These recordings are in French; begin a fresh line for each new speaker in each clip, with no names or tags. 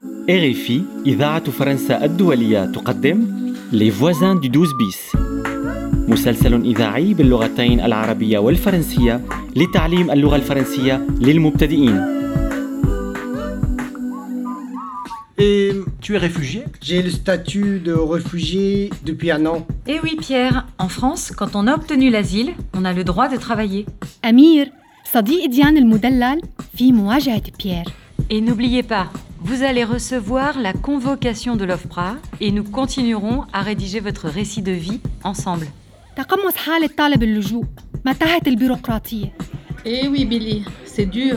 RFI إذاعة فرنسا الدولية تقدم Les voisins du 12 bis مسلسل إذاعي باللغتين العربية والفرنسية لتعليم اللغة الفرنسية للمبتدئين
Et tu es réfugié
J'ai le statut de réfugié depuis un an.
Eh oui, Pierre, en France, quand on a obtenu l'asile, on a le droit de travailler.
أمير صديق ديان المدلل في مواجهة بيير
Et n'oubliez pas, vous allez recevoir la convocation de l'OFPRA et nous continuerons à rédiger votre récit de vie ensemble.
تقمص حالة طالب اللجوء متاهة البيروقراطية
Eh oui, Billy, c'est dur.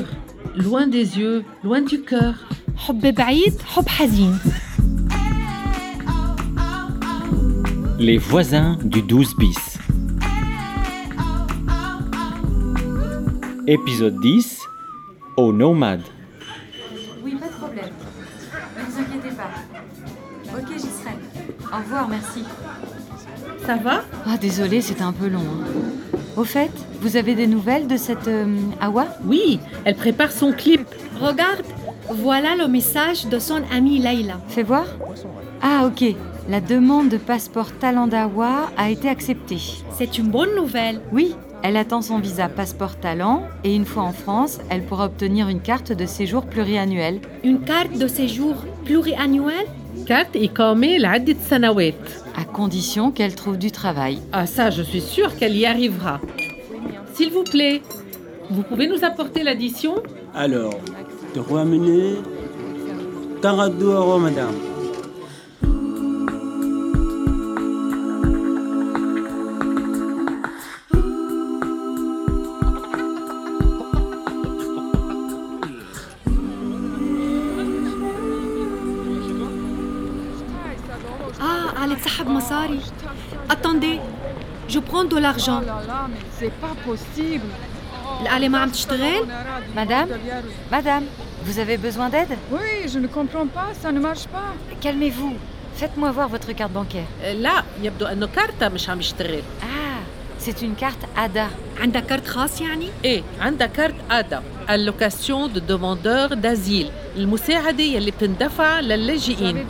Loin des yeux, loin du cœur.
حب بعيد حب حزين
Les voisins du 12 bis Épisode 10 Au nomade
Oui, pas de problème. Ne vous inquiétez pas. Ok, j'y serai. Au revoir, merci.
Ça va
Ah, désolé, c'était un peu long. hein. Au fait, vous avez des nouvelles de cette euh, Awa
Oui, elle prépare son clip.
Regarde voilà le message de son amie Leila
Fais voir. Ah, ok. La demande de passeport talent d'Awa a été acceptée.
C'est une bonne nouvelle
Oui, elle attend son visa passeport talent et une fois en France, elle pourra obtenir une carte de séjour pluriannuelle.
une carte de séjour pluriannuelle
كارت إقامة لعدة سنوات.
à condition qu'elle trouve du travail.
Ah ça, je suis sûre qu'elle y arrivera. S'il vous plaît, vous pouvez nous apporter l'addition
Alors, de ramener Taradou Aro, madame.
Ah قالت سحب مصاري Attendez je prends de l'argent الآلة ما عم تشتغل
Madame Madame, vous avez besoin d'aide
Oui, je ne comprends pas, ça ne marche pas.
Calmez-vous. Faites-moi voir votre carte bancaire.
لا يبدو أن كارتا مش عم يشتغل
Ah, c'est une carte ADA.
عندها كارت خاص يعني
إيه عندها كارت آدا allocation de demandeur d'asile المساعدة يلي بتندفع
J'avais
للاجئين
200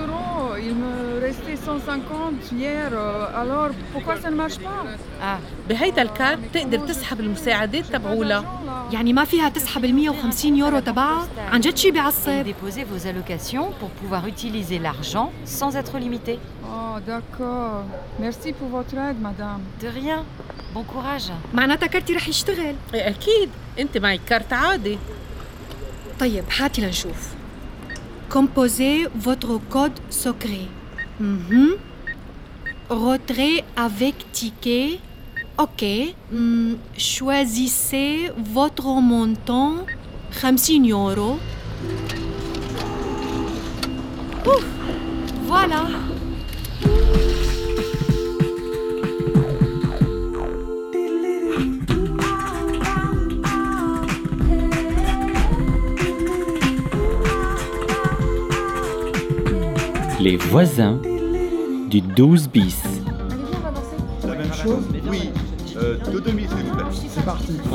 euros, il me restait 150 hier, euh, alors pourquoi ça ne marche pas
Ah,
بهيدا الكارت بتقدر تسحب المساعدات
J'ai pas
تبعولها
d'argent, là.
يعني ما فيها تسحب ال 150 يورو تبعها عن جد شي
et
بيعصب
déposez vos allocations pour pouvoir utiliser l'argent sans être limité.
Oh, d'accord. Merci pour votre aide, madame.
De rien. Bon courage.
معناتها كرتي رح يشتغل
إيه أكيد أنت معك كارت عادي
طيب هاتي لنشوف Composez votre code secret. Mhm. Retrait avec ticket. OK. Hmm, Choisissez votre montant 50 euros. Ouf, voilà.
Les voisins du 12 bis
La même chose Oui. Euh, deux demi, s'il vous plaît. C'est parti.
Tu veux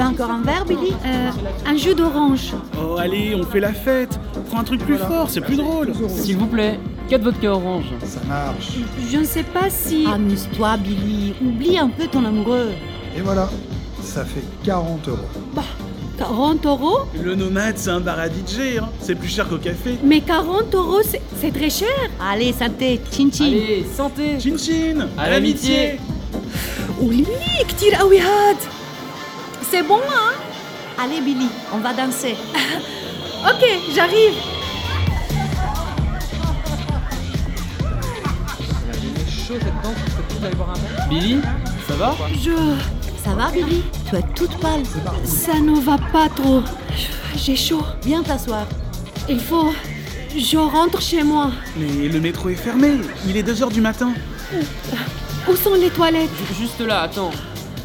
encore un verre, Billy
Euh, un jus d'orange.
Oh allez, on fait la fête Prends un truc plus fort, c'est plus drôle
S'il vous plaît, 4 vodka orange. Ça marche.
Je ne sais pas si...
Amuse-toi, Billy. Oublie un peu ton amoureux.
Et voilà, ça fait 40 euros.
40 Bah, euros
Le nomade, c'est un bar à DJ, hein. c'est plus cher qu'au café.
Mais 40 euros, c'est- c'est très cher.
Allez, santé, chin chin.
Chin chin À l'amitié
Oh, ولي كتير قوي هاد. ah C'est bon hein
Allez, Billy, on va danser.
Ok, j'arrive. Billy, ça va
Ça va, Billy Tu es toute pâle.
Je... Ça ne va pas trop. J'ai chaud.
Viens t'asseoir.
Il faut... Je rentre chez moi.
Mais le métro est fermé, il est 2h du matin.
Où sont les toilettes
Juste là, attends.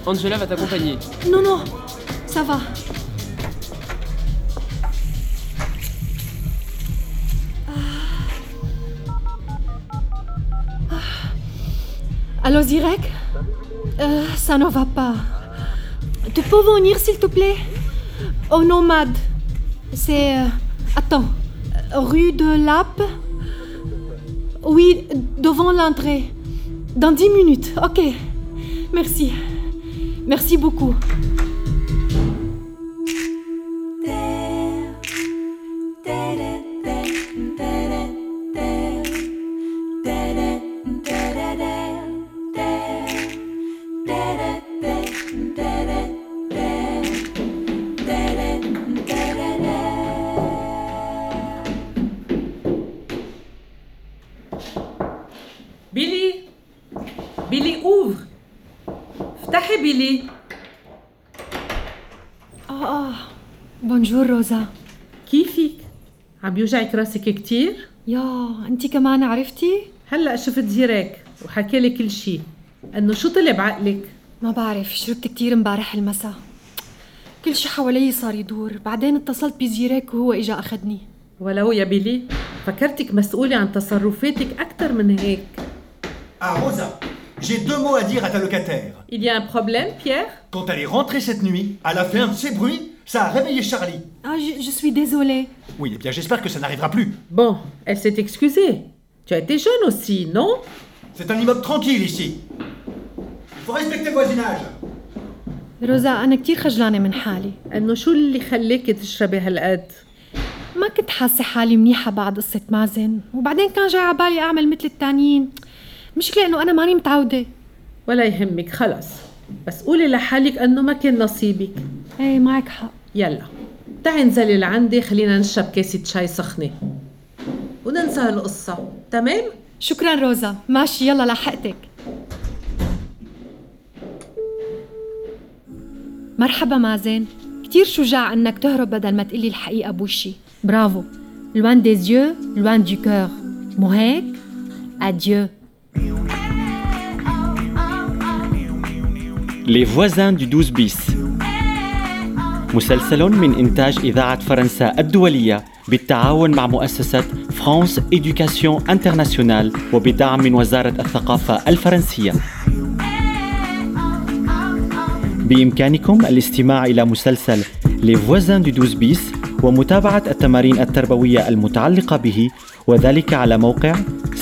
Angela va t'accompagner.
Non, non. Ça va. Ah. Ah. Allô, Zirek Euh, Ça ne va pas. Tu Oh, peux venir, s'il te plaît Au nomade. C'est... euh, Attends, rue de Lappe Oui, devant l'entrée. Dans dix minutes, ok. Merci. Merci beaucoup.
بيلي بيلي اوفر افتحي بيلي
آه بونجور روزا
كيفك؟ عم بيوجعك راسك كتير؟
يا انت كمان عرفتي؟
هلا شفت زيرك وحكى لي كل شيء انه شو طلب عقلك؟
ما بعرف شربت كتير امبارح المساء كل شي حوالي صار يدور بعدين اتصلت بزيريك وهو اجا اخدني
ولو يا بيلي فكرتك مسؤولة عن تصرفاتك أكثر من هيك
Ah, Rosa, j'ai deux mots à dire à ta locataire.
Il y a un problème, Pierre
Quand elle est rentrée cette nuit, elle a fait un de ces bruits, ça a réveillé Charlie.
Ah, je, je suis désolée.
Oui, eh bien j'espère que ça n'arrivera plus.
Bon, elle s'est excusée. Tu as été jeune aussi, non
C'est un immeuble tranquille ici. Il faut respecter le voisinage.
روزا أنا كتير خجلانة من حالي
إنه شو اللي خليكي تشربي هالقد؟
ما كنت حاسة حالي منيحة بعد قصة مازن وبعدين كان جاي على بالي أعمل مثل التانيين مشكلة إنه أنا ماني متعودة
ولا يهمك خلص بس قولي لحالك انه ما كان نصيبك
ايه معك حق
يلا تعي انزلي لعندي خلينا نشرب كاسة شاي سخنة وننسى هالقصة تمام؟
شكرا روزا ماشي يلا لحقتك مرحبا مازن كتير شجاع انك تهرب بدل ما تقلي الحقيقة بوشي برافو لوان ديز يو لوان دو كور مو هيك؟ اديو
Les voisins du 12 bis مسلسل من إنتاج إذاعة فرنسا الدولية بالتعاون مع مؤسسة فرانس إدوكاسيون انترناسيونال وبدعم من وزارة الثقافة الفرنسية بإمكانكم الاستماع إلى مسلسل Les voisins du 12 bis ومتابعة التمارين التربوية المتعلقة به وذلك على موقع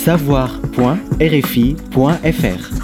savoir.rfi.fr